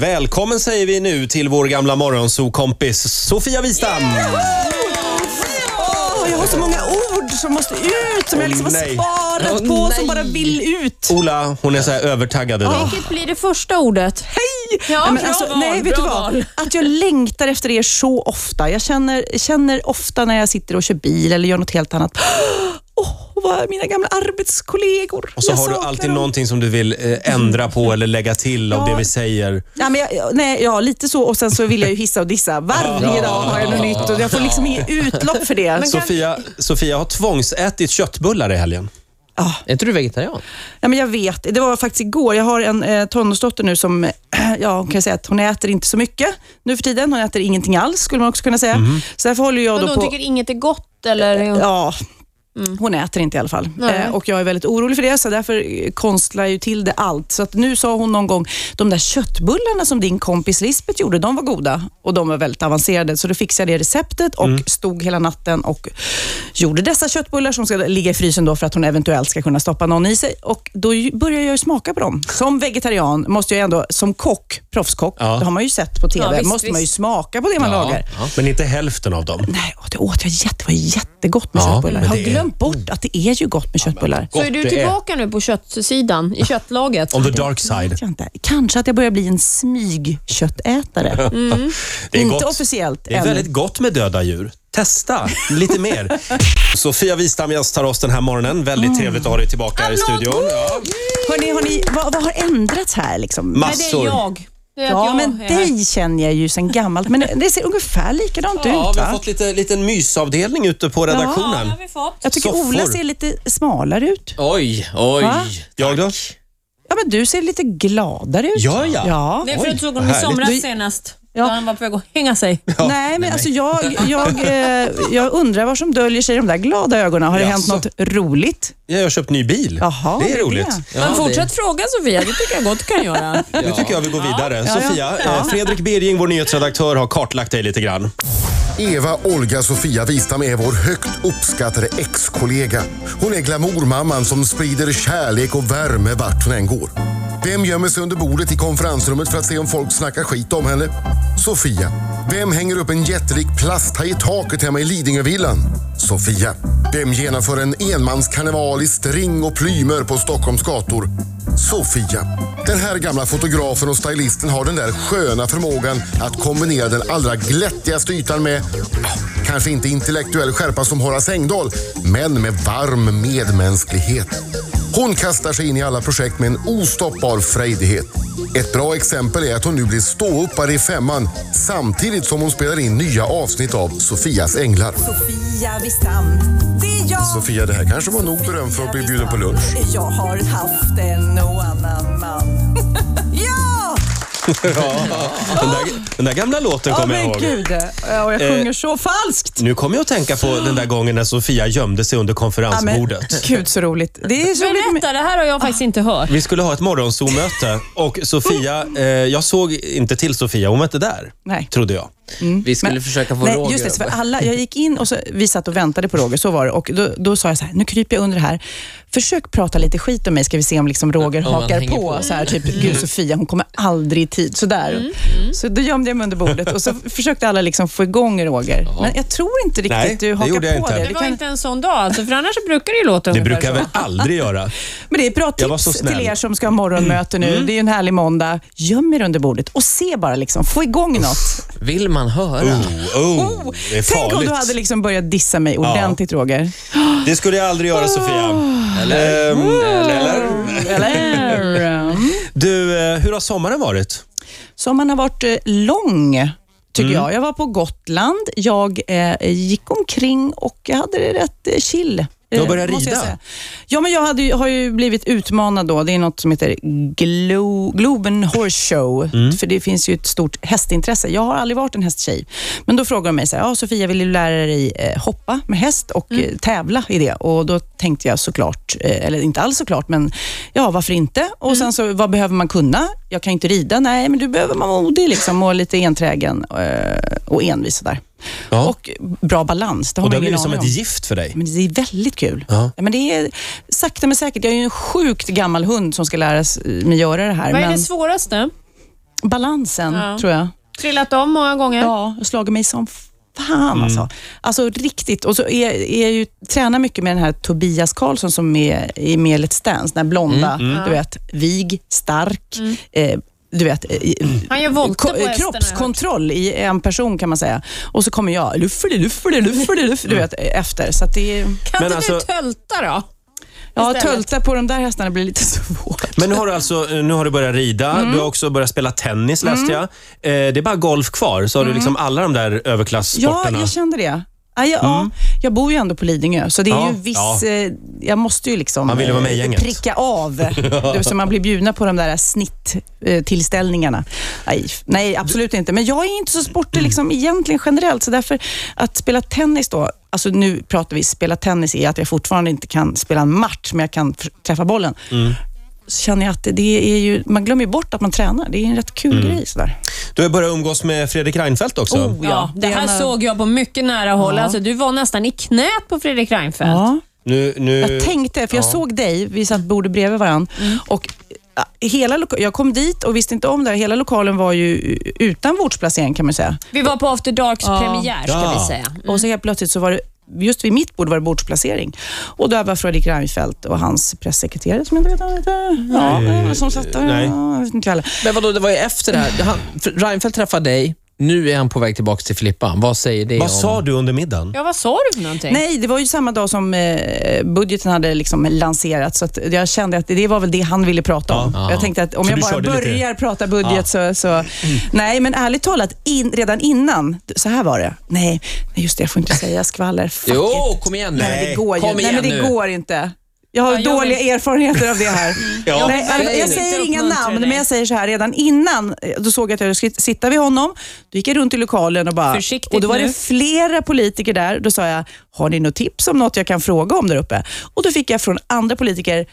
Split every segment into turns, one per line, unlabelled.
Välkommen säger vi nu till vår gamla morgonsokompis Sofia Wistam.
Åh, jag har så många ord som måste ut, som jag liksom har
nej.
sparat
Åh,
på,
nej.
som bara vill ut.
Ola, hon är så här övertaggad idag.
Vilket blir det första ordet?
Hej!
Ja,
nej, men
bra
alltså,
val,
nej, vet
bra
du vad?
val.
Att jag längtar efter er så ofta. Jag känner, känner ofta när jag sitter och kör bil eller gör något helt annat. Åh, vad är mina gamla arbetskollegor.
Och så
Jag
har du
saknar
alltid
dem.
någonting som du vill eh, ändra på eller lägga till av det vi säger.
Ja, men jag- jag, nej, ja, lite så. Och sen så vill jag ju hissa och dissa. Varje dag har jag något nytt och jag får liksom inget utlopp för det. Så,
Sofia, Sofia har tvångsätit köttbullar i helgen.
Är inte du vegetarian?
ja, men jag vet, det var faktiskt igår. Jag har en eh, tonårsdotter nu som, ja, hon kan säga att hon äter inte så mycket nu för tiden. Hon äter ingenting alls, skulle man också kunna säga. Så därför håller jag
Vadå,
då
hon
på...
tycker inget är gott eller? Mm.
Ja. Hon äter inte i alla fall.
Nej.
Eh, och Jag är väldigt orolig för det, så därför eh, konstlar jag ju till det allt. Så att nu sa hon någon gång, de där köttbullarna som din kompis Lisbeth gjorde, de var goda och de var väldigt avancerade. Så då fixade jag det receptet och stod hela natten och gjorde dessa köttbullar som ska ligga i frysen då för att hon eventuellt ska kunna stoppa någon i sig. Och Då ju- började jag ju smaka på dem. Som vegetarian måste jag ändå, som kock, proffskock,
Ja.
det har man ju sett på TV,
Ja, visst,
måste man ju
visst.
smaka på det man lagar.
Men inte hälften av dem.
Nej, och det åt jag jätte, det var jättegott med
Ja,
köttbullar.
men
Jag har
det är- Mm.
glömt bort att det är ju gott med köttbullar.
Så är du
Gott det är.
tillbaka nu på köttsidan, i köttlaget?
On the dark side.
Vet jag inte. Kanske att jag börjar bli en smygköttätare.
Det är
Inte
gott.
officiellt
Det är
än.
väldigt gott med döda djur. Testa lite mer. Sofia Wistam gästar oss den här morgonen. Väldigt
Mm.
trevligt att ha dig tillbaka här i studion. Ja.
Hörrni, har ni, vad, vad har ändrats här? Liksom?
Nej, det är
Massor.
jag. Det är att
ja,
jag
men
är här.
dig känner jag ju sedan gammalt, men det- det ser ungefär likadant
Ja,
ut.
vi har
Va?
fått lite liten mysavdelning ute på
Ja, det
redaktionen.
har vi fått.
Jag tycker Ola
soffor.
ser lite smalare ut.
Oj, oj.
Va?
Jag då?
Ja, men du ser lite gladare ut.
Gör jag?
Ja.
Det är för
Oj,
att jag såg
vad
honom i
härligt.
somras
Du-
senast.
Ja.
Då han var på väg att hänga sig.
Nej, men alltså jag, jag, eh, jag undrar vad som döljer sig i de där glada ögonen. Har det hänt
Jaså?
något roligt?
Jag har köpt ny bil.
Jaha,
det är
det är
roligt.
det.
men fortsätt fråga Sofia, det tycker jag gott kan göra.
Nu tycker jag vi går vidare. Sofia, eh, Fredrik Birging, vår nyhetsredaktör, har kartlagt dig lite grann.
Eva Olga Sofia Wistam är vår högt uppskattade ex-kollega. Hon är glamourmamman som sprider kärlek och värme vart hon än går. Vem gömmer sig under bordet i konferensrummet för att se om folk snackar skit om henne? Sofia. Vem hänger upp en jättelik plasthaj i taket hemma i Lidingövillan? Sofia. Vem genomför en enmanskarneval i string och plymer på Stockholms gator? Sofia. Den här gamla fotografen och stylisten har den där sköna förmågan att kombinera den allra glättigaste ytan med, ja, kanske inte intellektuell skärpa som Horace Engdahl, men med varm medmänsklighet. Hon kastar sig in i alla projekt med en ostoppbar frejdighet. Ett bra exempel är att hon nu blir ståuppare i femman samtidigt som hon spelar in nya avsnitt av Sofias änglar.
Sofia Wistam, det är jag.
Sofia, det här kanske var nog beröm för att bli bjuden på lunch.
Jag har haft en och annan man. ja!
Den där, den där gamla låten
Ja,
kommer jag
men
ihåg.
gud. Ja,
Eh,
och jag sjunger så falskt.
Nu kommer jag att tänka på den där gången när Sofia gömde sig under
Ja, men
konferensbordet.
Gud så roligt. Det är så roligt. med-
Berätta, det här har jag faktiskt inte hört.
Vi skulle ha ett morgonzoo-möte och Sofia, eh, jag såg inte till Sofia, hon var inte där.
Nej.
Trodde jag.
Mm. Vi skulle Typ, försöka få
Nej,
Roger.
just det, för alla, jag gick in och så, vi satt och väntade på Roger, så var det. Och då, då sa jag så här, nu kryper jag under det här. Försök prata lite skit om mig, ska vi se om liksom Roger
Om han
hakar
hänger
på.
på.
Så här, typ, gud Sofia, hon kommer aldrig i tid. Sådär.
Mm,
Så då gömde jag mig under bordet och så försökte alla liksom få igång Roger. Men jag tror inte riktigt
Nej, det
du hakar
gjorde jag
på
inte.
det.
Det
Vi
var
kan,
inte en sån dag alltså, för annars brukar det ju låta
Det
ungefär
brukar jag
så.
väl aldrig göra.
men det är ett bra
Jag var
tips
så snäll. Mm.
till er som ska ha morgonmöte nu. Det är ju en härlig måndag. Göm er under bordet och se bara, liksom, få igång något.
Vill man höra?
Oh, oh, det är
Tänk om
farligt.
du hade liksom börjat dissa mig ordentligt, Roger.
Det skulle jag aldrig göra Sofia.
Oh.
Eller?
Mm.
Eller?
Eller? Mm.
Du, eh, hur har sommaren varit?
Sommaren har varit eh, lång, tycker
Mm.
jag. Jag var på Gotland. Jag eh, gick omkring och jag hade det rätt eh, chill. eh,
Du har börjat
måste jag
rida.
säga. Ja, men jag hade, ju- har ju blivit utmanad då. Det är något som heter Glo, Globen Horse Show.
Mm.
För det finns ju ett stort hästintresse. Jag har aldrig varit en hästtjej. Men då frågade de mig så här, ja, Sofia, vill du lära dig eh, hoppa med häst och
Mm.
eh, tävla i det? Och då tänkte jag såklart, eh, eller inte alls såklart, men ja, varför inte? Och
Mm.
sen så, vad behöver man kunna? Jag kan inte rida. Nej, men du behöver man vara modig liksom och lite enträgen eh, och envis sådär.
Ja.
Och bra balans, det har
Och det
man
har
ingen
blivit som
aning
ett
om.
gift för dig.
Men det är väldigt kul.
Ja.
Ja, men det är sakta men säkert. Jag är ju en sjukt gammal hund som ska lära s- mig göra det här.
Vad är
men
det svåraste?
balansen,
Ja.
tror jag.
Trillat om många gånger.
Ja, jag slagit mig som fan alltså. Alltså riktigt. Och så är, är jag ju, tränar mycket med den här Tobias Karlsson som är i med i Let's Dance, den här blonda, du vet, vig, stark, eh, du vet, eh,
Han gör volter Mm. på
ko-
hästen.
kroppskontroll i en person kan man säga. Och så kommer jag, luffeli, luffeli, luffeli, luff, du vet, efter. Så att det är,
Kan
Men
inte
alltså-
du tölta då?
ja,
Istället.
tölta på de där hästarna blir lite svårt.
Men nu har du alltså nu har du börjat rida,
Mm.
du har också börjat spela tennis läste jag. Eh, det är bara golf kvar, så har du liksom alla de där
Mm. Ja,
överklasssporterna.
jag kände det. Ah, Ja, ja, ja. Jag bor ju ändå på Lidingö, så det är
Ja,
ju en viss...
ja.
Eh, jag måste ju liksom
Man vill ju vara med i
eh,
gänget.
pricka av, du, så man blir bjudna på de där snitttillställningarna. Nej, f- nej, absolut inte. Men jag är inte så
Mm.
sportig liksom, egentligen generellt, så därför att spela tennis då, alltså nu pratar vi spela tennis i att jag fortfarande inte kan spela en match, men jag kan f- träffa bollen.
Mm.
Så känner jag att det, det är ju, man glömmer ju bort att man tränar. Det är en rätt kul
Mm.
grej. Sådär.
Du har börjat umgås med Fredrik Reinfeldt också.
Oh,
Ja, det här
är en-
såg jag på mycket nära håll.
Ja.
Alltså, du var nästan i knät på Fredrik Reinfeldt.
Ja.
Nu, nu...
Jag tänkte, för jag såg dig, vi satt bordet bredvid varandra. Och ja, hela loka- jag kom dit och visste inte om det här. Hela lokalen var ju utan bordsplacering kan man säga.
Vi var på After Darks premiär ska
Ja.
vi säga.
Och så helt plötsligt så var det Just vid mitt bord var det bordsplacering. Och där var Fredrik Reinfeldt och hans pressekreterare som jag vet inte ja, som satt där.
nej.
Ja, jag vet inte heller.
Men vadå, det var ju efter det här. Han, Reinfeldt träffade dig, nu är han på väg tillbaka till Filippa. Vad säger det
Vad
om...
sa du under middagen?
Ja, vad sa du för någonting?
Nej, det var ju samma dag som eh, budgeten hade liksom lanserats, så att jag kände att det var väl det han ville prata om.
Ja.
Jag tänkte att om
Så
jag
du
bara
körde lite-
börjar prata budget så... så nej, men ärligt talat, in, redan innan, så här var det. Nej, nej, just det, jag får inte säga skvaller. Fuck
Jo,
it.
kom igen nu.
Nej, det går ju.
Kom
nej,
igen
men det
nu.
går inte. Jag har
Ja, jag
dåliga
vill-
erfarenheter av det här.
Ja.
Nej,
Jag vill
jag, jag
inte
säger inga
uppmuntra
namn,
dig.
men jag säger så här. Redan innan, eh, då såg jag att jag skulle sitta vid honom. Då gick jag runt i lokalen och bara...
Försiktigt
och Då var
nu.
det flera politiker där. Då sa jag, har ni något tips om något jag kan fråga om där uppe? Och Då fick jag från andra politiker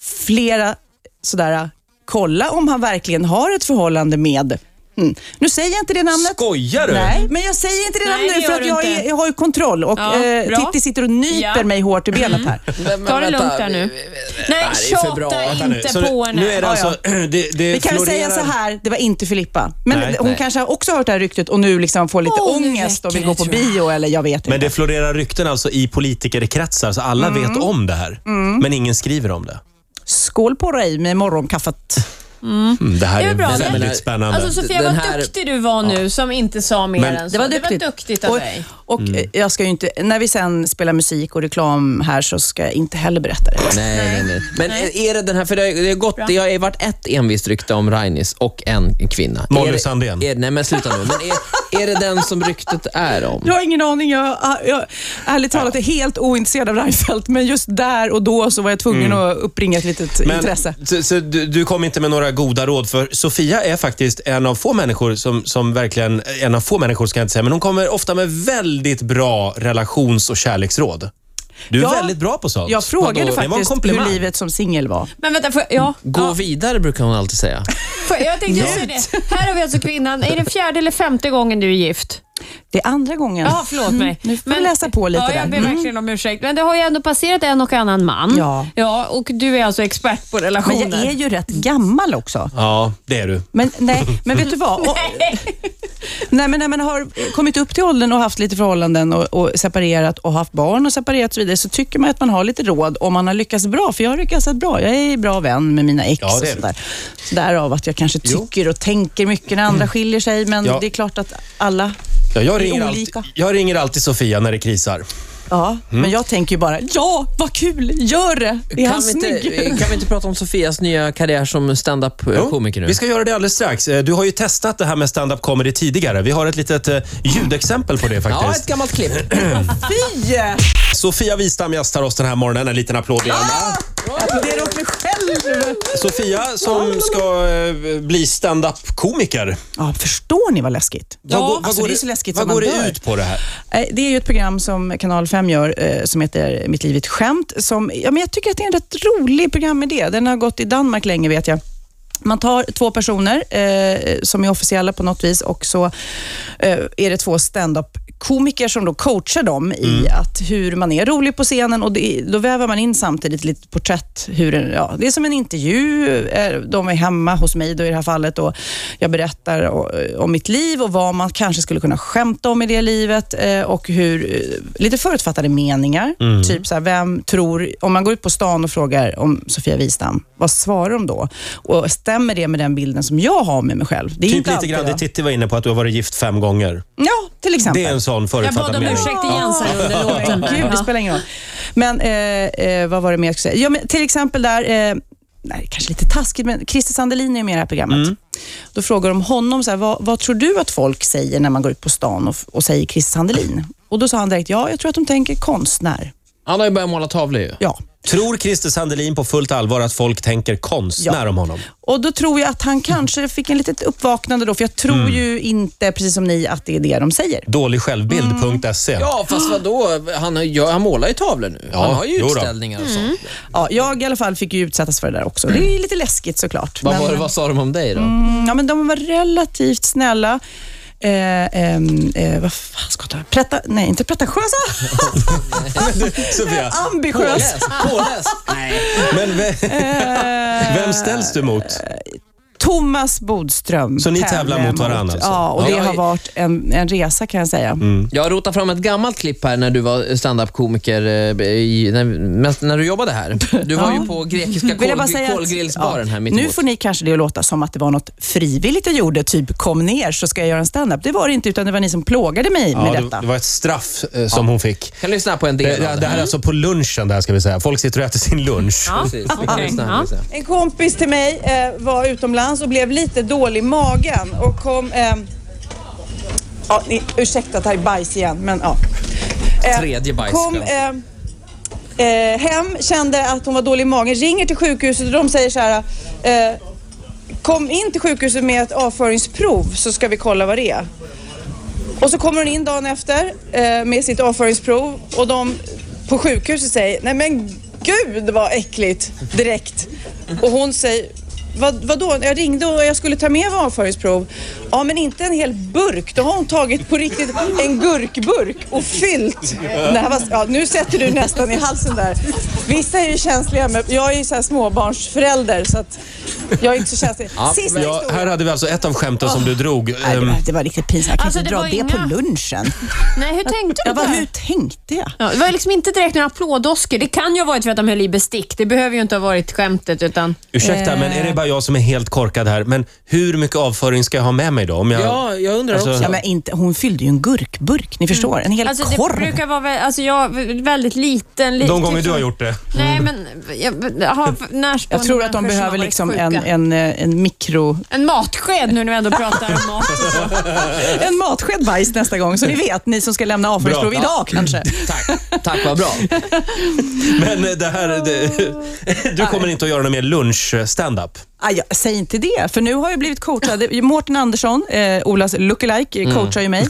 flera sådär, kolla om han verkligen har ett förhållande med... Mm. Nu säger jag inte det namnet.
Skojar du?
Nej, men jag säger inte det
Nej,
namnet
det
nu för
gör
att
du
jag,
inte.
är, jag har ju kontroll och
Ja,
eh,
bra.
Titti sitter och nyper
Ja. Mm.
mig hårt i benet här.
Men- men
Ta det
vänta,
lugnt där nu.
vi- vi-
Nej,
det är för
tjata
bra. Vänta
Nu,
inte
så
på
nu,
henne.
nu är det
Ja, ja.
alltså... Det, det
Vi kan väl säga så
florerar-
här, det var inte Filippa. Men
Nej,
hon
nej.
kanske har också hört det här ryktet och nu liksom får lite
Åh, nu
ångest och vill
räcker
gå
det,
på
tror jag.
bio eller jag vet
Men
inte.
det florerar rykten alltså i politikerkretsar, så alla
Mm.
vet om det här. Men ingen skriver om det.
Skål på dig med morgonkaffet.
Mm, det här
Det är
är,
bra.
väldigt
Men-
spännande.
Alltså Sofia,
Den
vad
här-
duktig du var nu som inte sa mer
Men-
än så.
Det var duktigt.
Det var duktigt av
och,
dig.
Och eh, jag ska ju inte, när vi sen spelar musik och reklam här så ska jag inte heller berätta det.
Nej, nej, nej. Men är det den här, för det har, det har gått, det har ju varit ett envist rykte om Rainis och en kvinna.
Molly
Är det-
Sandén.
Är, nej, men sluta nu. Men är, är det den som ryktet är om?
Jag har ingen aning. Jag, jag ärligt talat är helt ointresserad av Reinfeldt, men just där och då så var jag tvungen att uppringa ett litet intresse.
Så, så du, du kom inte med några goda råd för Sofia är faktiskt en av få människor som, som verkligen, en av få människor ska jag inte säga, men hon kommer ofta med väldigt bra relations och kärleksråd. Du är
Ja,
väldigt bra på sånt.
Jag frågade
Vadå? Det var en
faktiskt
komplimang.
hur livet som singel var.
Men vänta, får jag, ja,
Gå vidare brukar hon alltid säga.
får, jag tänkte just säga det. Här har vi alltså kvinnan. Är det fjärde eller femte gången du är gift?
Det är andra gången.
Ja, förlåt mig.
Mm. Nu får vi läsa på lite
ja,
där.
Jag ber
Mm.
verkligen om ursäkt. Men det har ju ändå passerat en och annan man.
Ja.
ja och du är alltså expert på
Men
relationer.
jag är ju rätt gammal också.
Ja, det är du.
Men, nej, men vet du vad? Och, nej, men när man har kommit upp till åldern och haft lite förhållanden och, och separerat och haft barn och separerat och så vidare, så tycker man att man har lite råd om man har lyckats bra. För jag har lyckats rätt bra. Jag är bra vän med mina ex
Ja, det
och
är du.
sådär. Så därav att jag kanske
Jo. Mm.
tycker och tänker mycket när andra skiljer sig, men
Ja.
det är klart att alla
Ja, jag,
är
ringer alltid,
olika.
jag ringer alltid Sofia när det krisar.
Ja,
Mm.
men jag tänker ju bara, ja, vad kul, gör det. Är han
vi inte, eh,
snygg?
kan vi inte prata om Sofias nya karriär som
Jo,
stand-up-komiker nu?
Vi ska göra det alldeles strax. Eh, Du har ju testat det här med stand-up comedy tidigare. Vi har ett litet eh, ljudexempel på det
Ja, ett
faktiskt.
gammalt klipp.
Fy!
Sofia Wistam gästar oss den här morgonen. En liten applåd igen.
Ah! Applådera åt mig själv.
Sofia som ska eh, bli stand-up-komiker.
Ja, förstår ni vad läskigt?
Vad går- vad
alltså,
går
det är
det-
så läskigt
Vad
som man
går det
dör.
ut på det här?
Eh, Det är ju ett program som Kanal 5 gör eh, som heter Mitt liv är ett skämt. Som, ja, men jag tycker att det är en rätt rolig programidé. Den har gått i Danmark länge vet jag. Man tar två personer eh, som är officiella på något vis och så eh, är det två stand-up komiker som då coachar dem i
Mm.
att hur man är rolig på scenen och det, då väver man in samtidigt lite porträtt. Hur, en- ja, det är som en intervju. eh, De är hemma hos mig då i det här fallet och jag berättar o- om mitt liv och vad man kanske skulle kunna skämta om i det livet eh, och hur eh, lite förutfattade meningar.
Mm.
Typ så här, vem tror, om man går ut på stan och frågar om Sofia Wistam, vad svarar de då? Och stämmer det med den bilden som jag har med mig själv? Det är
Typ
inte
lite
alltid
grann
då.
det Titti var inne på, att du har varit gift fem gånger.
Ja, till exempel.
Det är en sån
Jag bad
förutfattad
om
mening.
ursäkt igen sen under låten.
Men Gud, det spelar ingen roll. Men eh, eh, vad var det mer jag skulle säga? Ja, men till exempel där, eh, nej, kanske lite taskigt, men Christer Sandelin är ju med i det här programmet.
Mm.
Då frågar de honom, så här, vad, vad tror du att folk säger när man går ut på stan och, och säger Christer Sandelin? Och då sa han direkt, ja, jag tror att de tänker konstnär.
Han har ju börjat måla tavlor ju.
Ja.
Tror Christer Sandelin på fullt allvar att folk tänker konstnär
Ja.
om honom?
Och då tror jag att
Mm.
han kanske fick en litet uppvaknande då, för jag tror ju inte, precis som ni, att det är det de säger.
Dålig självbild.se.
Ja, fast vadå? Han, har- ja, han målar ju tavlor nu.
Ja,
han har ju
jo då.
utställningar och
Mm.
sånt.
Ja, jag i alla fall fick ju utsättas för det där också. Det är lite läskigt såklart.
Mm. Vad,
men-
var, det- vad sa de om dig då?
Mm, Ja, men de var relativt snälla. Eh, ehm, eh, vad fan ska jag ta? Preta, nej, inte pretentiösa.
Sofia,
Ambitiösa.
Påläst? Påläst? Nej.
men vem, vem ställs du mot?
Thomas Bodström.
Så ni tävlar mot varandra alltså? Mm.
Ja, och det
Ja.
har varit en, en resa kan jag säga.
Mm. Jag rotar fram ett gammalt klipp här när du var standup-komiker, eh, i- när, mest- när du jobbade här. Du var
Ja.
ju på grekiska
Vill jag bara
kol,
säga
kolgrillsbaren
att,
här
Nu
mittemot.
får ni kanske det att låta som att det var något frivilligt jag gjorde, typ kom ner så ska jag göra en standup. Det var det inte, utan det var ni som plågade mig
Ja,
med
det,
detta.
det var ett straff eh, som hon fick.
Kan lyssna på en
Det,
del av
det här är alltså på lunchen, det här ska vi säga. Folk sitter och äter sin lunch.
Ja,
Precis. Vi kan
okej.
lyssna,
Ja.
lyssna.
En kompis till mig eh, var utomlands och blev lite dålig i magen och kom... ehm, ja, ni, ursäkta att det här är bajs igen, men ja. Eh,
Tredje bajs,
Kom eh, eh, hem, kände att hon var dålig i magen, ringer till sjukhuset och de säger så här... Eh, kom in till sjukhuset med ett avföringsprov så ska vi kolla vad det är. Och så kommer hon in dagen efter eh, med sitt avföringsprov och de på sjukhuset säger nej men gud vad äckligt direkt. Och hon säger vad, vadå, jag ringde och jag skulle ta med mig avföringsprov. Ja men inte en hel burk, då har hon tagit på riktigt en gurkburk och fyllt. Det här var, ja, nu sätter du nästan i halsen där. Vissa är ju känsliga, men jag är ju så här småbarnsförälder så att jag är inte så känslig. Sista
Ja, här hade vi alltså ett av skämten som du drog.
Nej, det,
Ehm,
var, det var riktigt pinsamt. Jag
Alltså,
kan inte
det
dra
var
det
inga-
på lunchen.
Nej, hur tänkte du
Jag bara,
där?
hur tänkte jag?
Ja, det var liksom inte direkt några applådoskor. Det kan ju ha varit för att de höll i bestick. Det behöver ju inte ha varit skämtet. Utan...
Ursäkta, men är det bara jag som är helt korkad här? Men hur mycket avföring ska jag ha med mig då? Om jag...
Ja, jag undrar
Alltså-
också.
Ja, men inte, hon fyllde ju en gurkburk, ni förstår. En hel
Alltså, det
korv.
brukar vara vä- alltså, jag, väldigt liten. Li
De gånger
typ
du har
som-
gjort Mm. det.
Nej, men jag, jag, har närstående
Jag tror att de
människor som har
behöver
varit
liksom
sjuka.
en, en, eh, en mikro...
En matsked nu när vi ändå pratar om mat. och så.
En matsked bajs nästa gång, så ni vet, ni som ska lämna avföringsprov
Bra.
idag kanske.
Tack, tack vad bra.
Men eh, det här... Det, du kommer inte att göra någon mer lunch-standup?
Aj, jag, Ah, säg inte det, för nu har jag blivit coachad. Det- Mårten Andersson, eh, Olas lookalike, eh, coachar ju mig.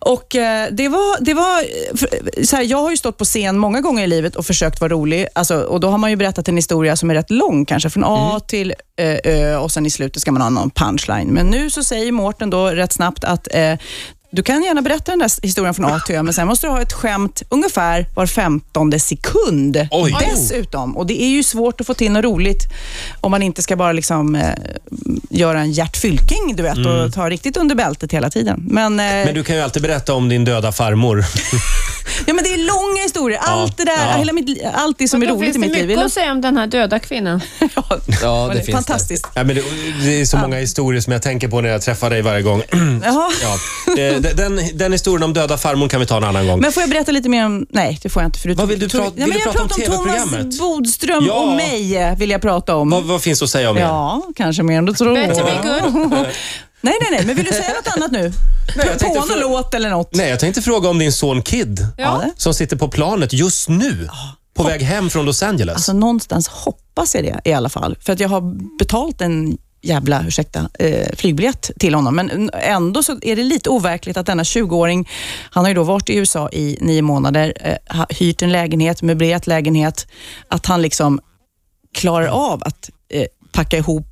Och eh, det var, det var eh, för, så här, jag har ju stått på scen många gånger i livet och försökt vara rolig. Alltså, och Då har man ju berättat en historia som är rätt lång, kanske från A till eh, Ö och sen i slutet ska man ha någon punchline. Men nu så säger Mårten då rätt snabbt att eh, du kan gärna berätta den där s- historien från A till Ö, men sen måste du ha ett skämt ungefär var femtonde sekund.
Oj.
Dessutom. Och det är ju svårt att få till något roligt om man inte ska bara liksom, eh, göra en Gert Fylking, du vet, och ta riktigt under bältet hela tiden. Men, eh,
Mm. Men du kan ju alltid berätta om din döda farmor.
Ja, men det är långa historier. Allt det där,
Ja.
hela mitt, li- allt det som är
Då finns
roligt i
det
mitt liv.
mycket att säga om den här döda kvinnan.
Ja,
Ja,
var
det finns
Fantastiskt.
Ja, men det, det är så många historier som jag tänker på när jag träffar dig varje gång.
Jaha.
Mm. Ja. Eh, de- Den, den historien om döda farmor kan vi ta en annan gång.
Men får jag berätta lite mer om... Nej, det får jag inte. För du
Vad vill du prata-
Nej,
vill
men
du
jag
prata om
pratar om
TV-programmet?
Thomas Bodström
Ja.
och mig eh, vill jag prata om.
Vad, vad finns att säga om det?
Ja, kanske mer än du tror.
Better be good.
Nej, nej, nej, men vill du säga något annat nu?
jag
På
tänkte
någon
fråga-
låt eller något.
Nej, jag tänkte fråga om din son Kid
Ja.
som sitter på planet just nu på väg hem från Los Angeles.
Alltså någonstans hoppas jag det i alla fall. För att jag har betalt en jävla, ursäkta, eh, flygbiljett till honom. Men ändå så är det lite overkligt att denna 20-åring, han har ju då varit i USA i nio månader, eh, ha- hyrt en lägenhet, möblerat lägenhet, att han liksom klarar av att eh, packa ihop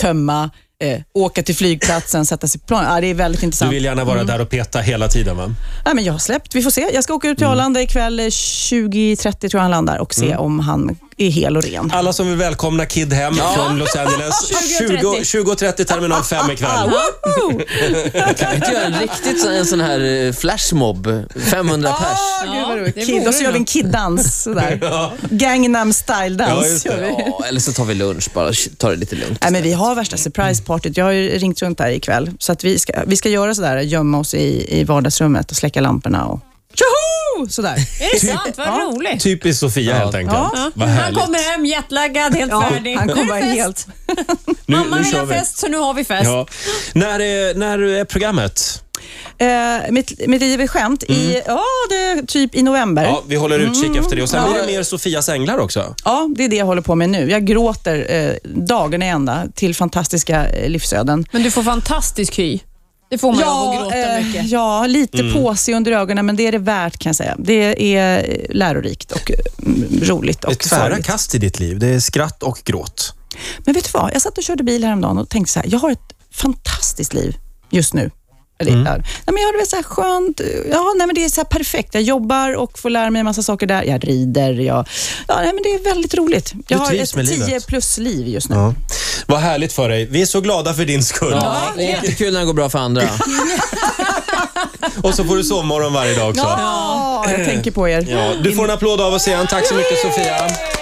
tömma, eh, åka till flygplatsen, sätta sig på planet. Ja, det är väldigt
Du
intressant.
vill gärna vara där och peta hela tiden va?
Nej, men jag har släppt, vi får se. Jag ska åka ut till Arlanda ikväll eh, 20.30 tror jag han landar och se om han är hel och ren.
Alla som vill välkomna Kid hem från Los Angeles.
20.30.
20.30 20, 20.30 terminal 5
Ah,
ikväll.
Woho!
Kan vi inte göra en riktigt sån- en sån här eh, flashmob? 500 pers.
Åh, gud vad roligt.
det
Kid,
vore
och så gör vi en kiddans sådär. Gangnam
Ja,
style-dans
just
gör vi.
Ja, eller så tar vi lunch bara. Ta det lite lugnt.
Nej, men vi har värsta surprise-partyt. Jag har ju ringt runt här ikväll. Så att vi, ska, vi ska göra sådär, gömma oss i, i vardagsrummet och släcka lamporna och tjoho! Sådär.
Är
Typ.
det sant? Vad roligt.
Typiskt Sofia helt enkelt.
Ja.
Vad
Han
härligt.
kommer hem jetlaggad, helt färdig.
han
Nu är det
kommer
fest.
helt...
Mamma vill ha fest, så nu har vi fest.
Ja. När, är, när är programmet?
Eh, mitt, mitt liv är skämt i, ja, det är typ i november.
Ja,
Ja.
vi håller utkik efter det. Och sen
Ja.
blir det mer Sofias änglar också.
det är det jag håller på med nu. Jag gråter eh, dagarna i ända till fantastiska eh, livsöden.
Men du får fantastisk hy. Det får man av att gråta
eh,
mycket.
ja, lite
Mm.
påsig under ögonen, men det är det värt kan jag säga. Det är eh, lärorikt och eh, mm, roligt och
Ett tvära
sorgligt.
kast i ditt liv. Det är skratt och gråt.
Men vet du vad? Jag satt och körde bil häromdagen och tänkte så här, jag har ett fantastiskt liv just nu. Eller,
Mm.
ja. nej, men jag har det väl så här skönt. Ja, nej, men det är så här perfekt. Jag jobbar och får lära mig en massa saker där. Jag rider. Jag, ja, nej, men det är väldigt roligt. Jag har
trivs
ett
med livet.
10 plus-liv just nu.
Ja. Vad härligt för dig. Vi är så glada för din skull.
Ja, det är jättekul när det går bra för andra.
Och så får du sovmorgon varje dag också.
Ja, jag tänker på er.
Ja, du får en applåd av oss igen. Tack så mycket Sofia.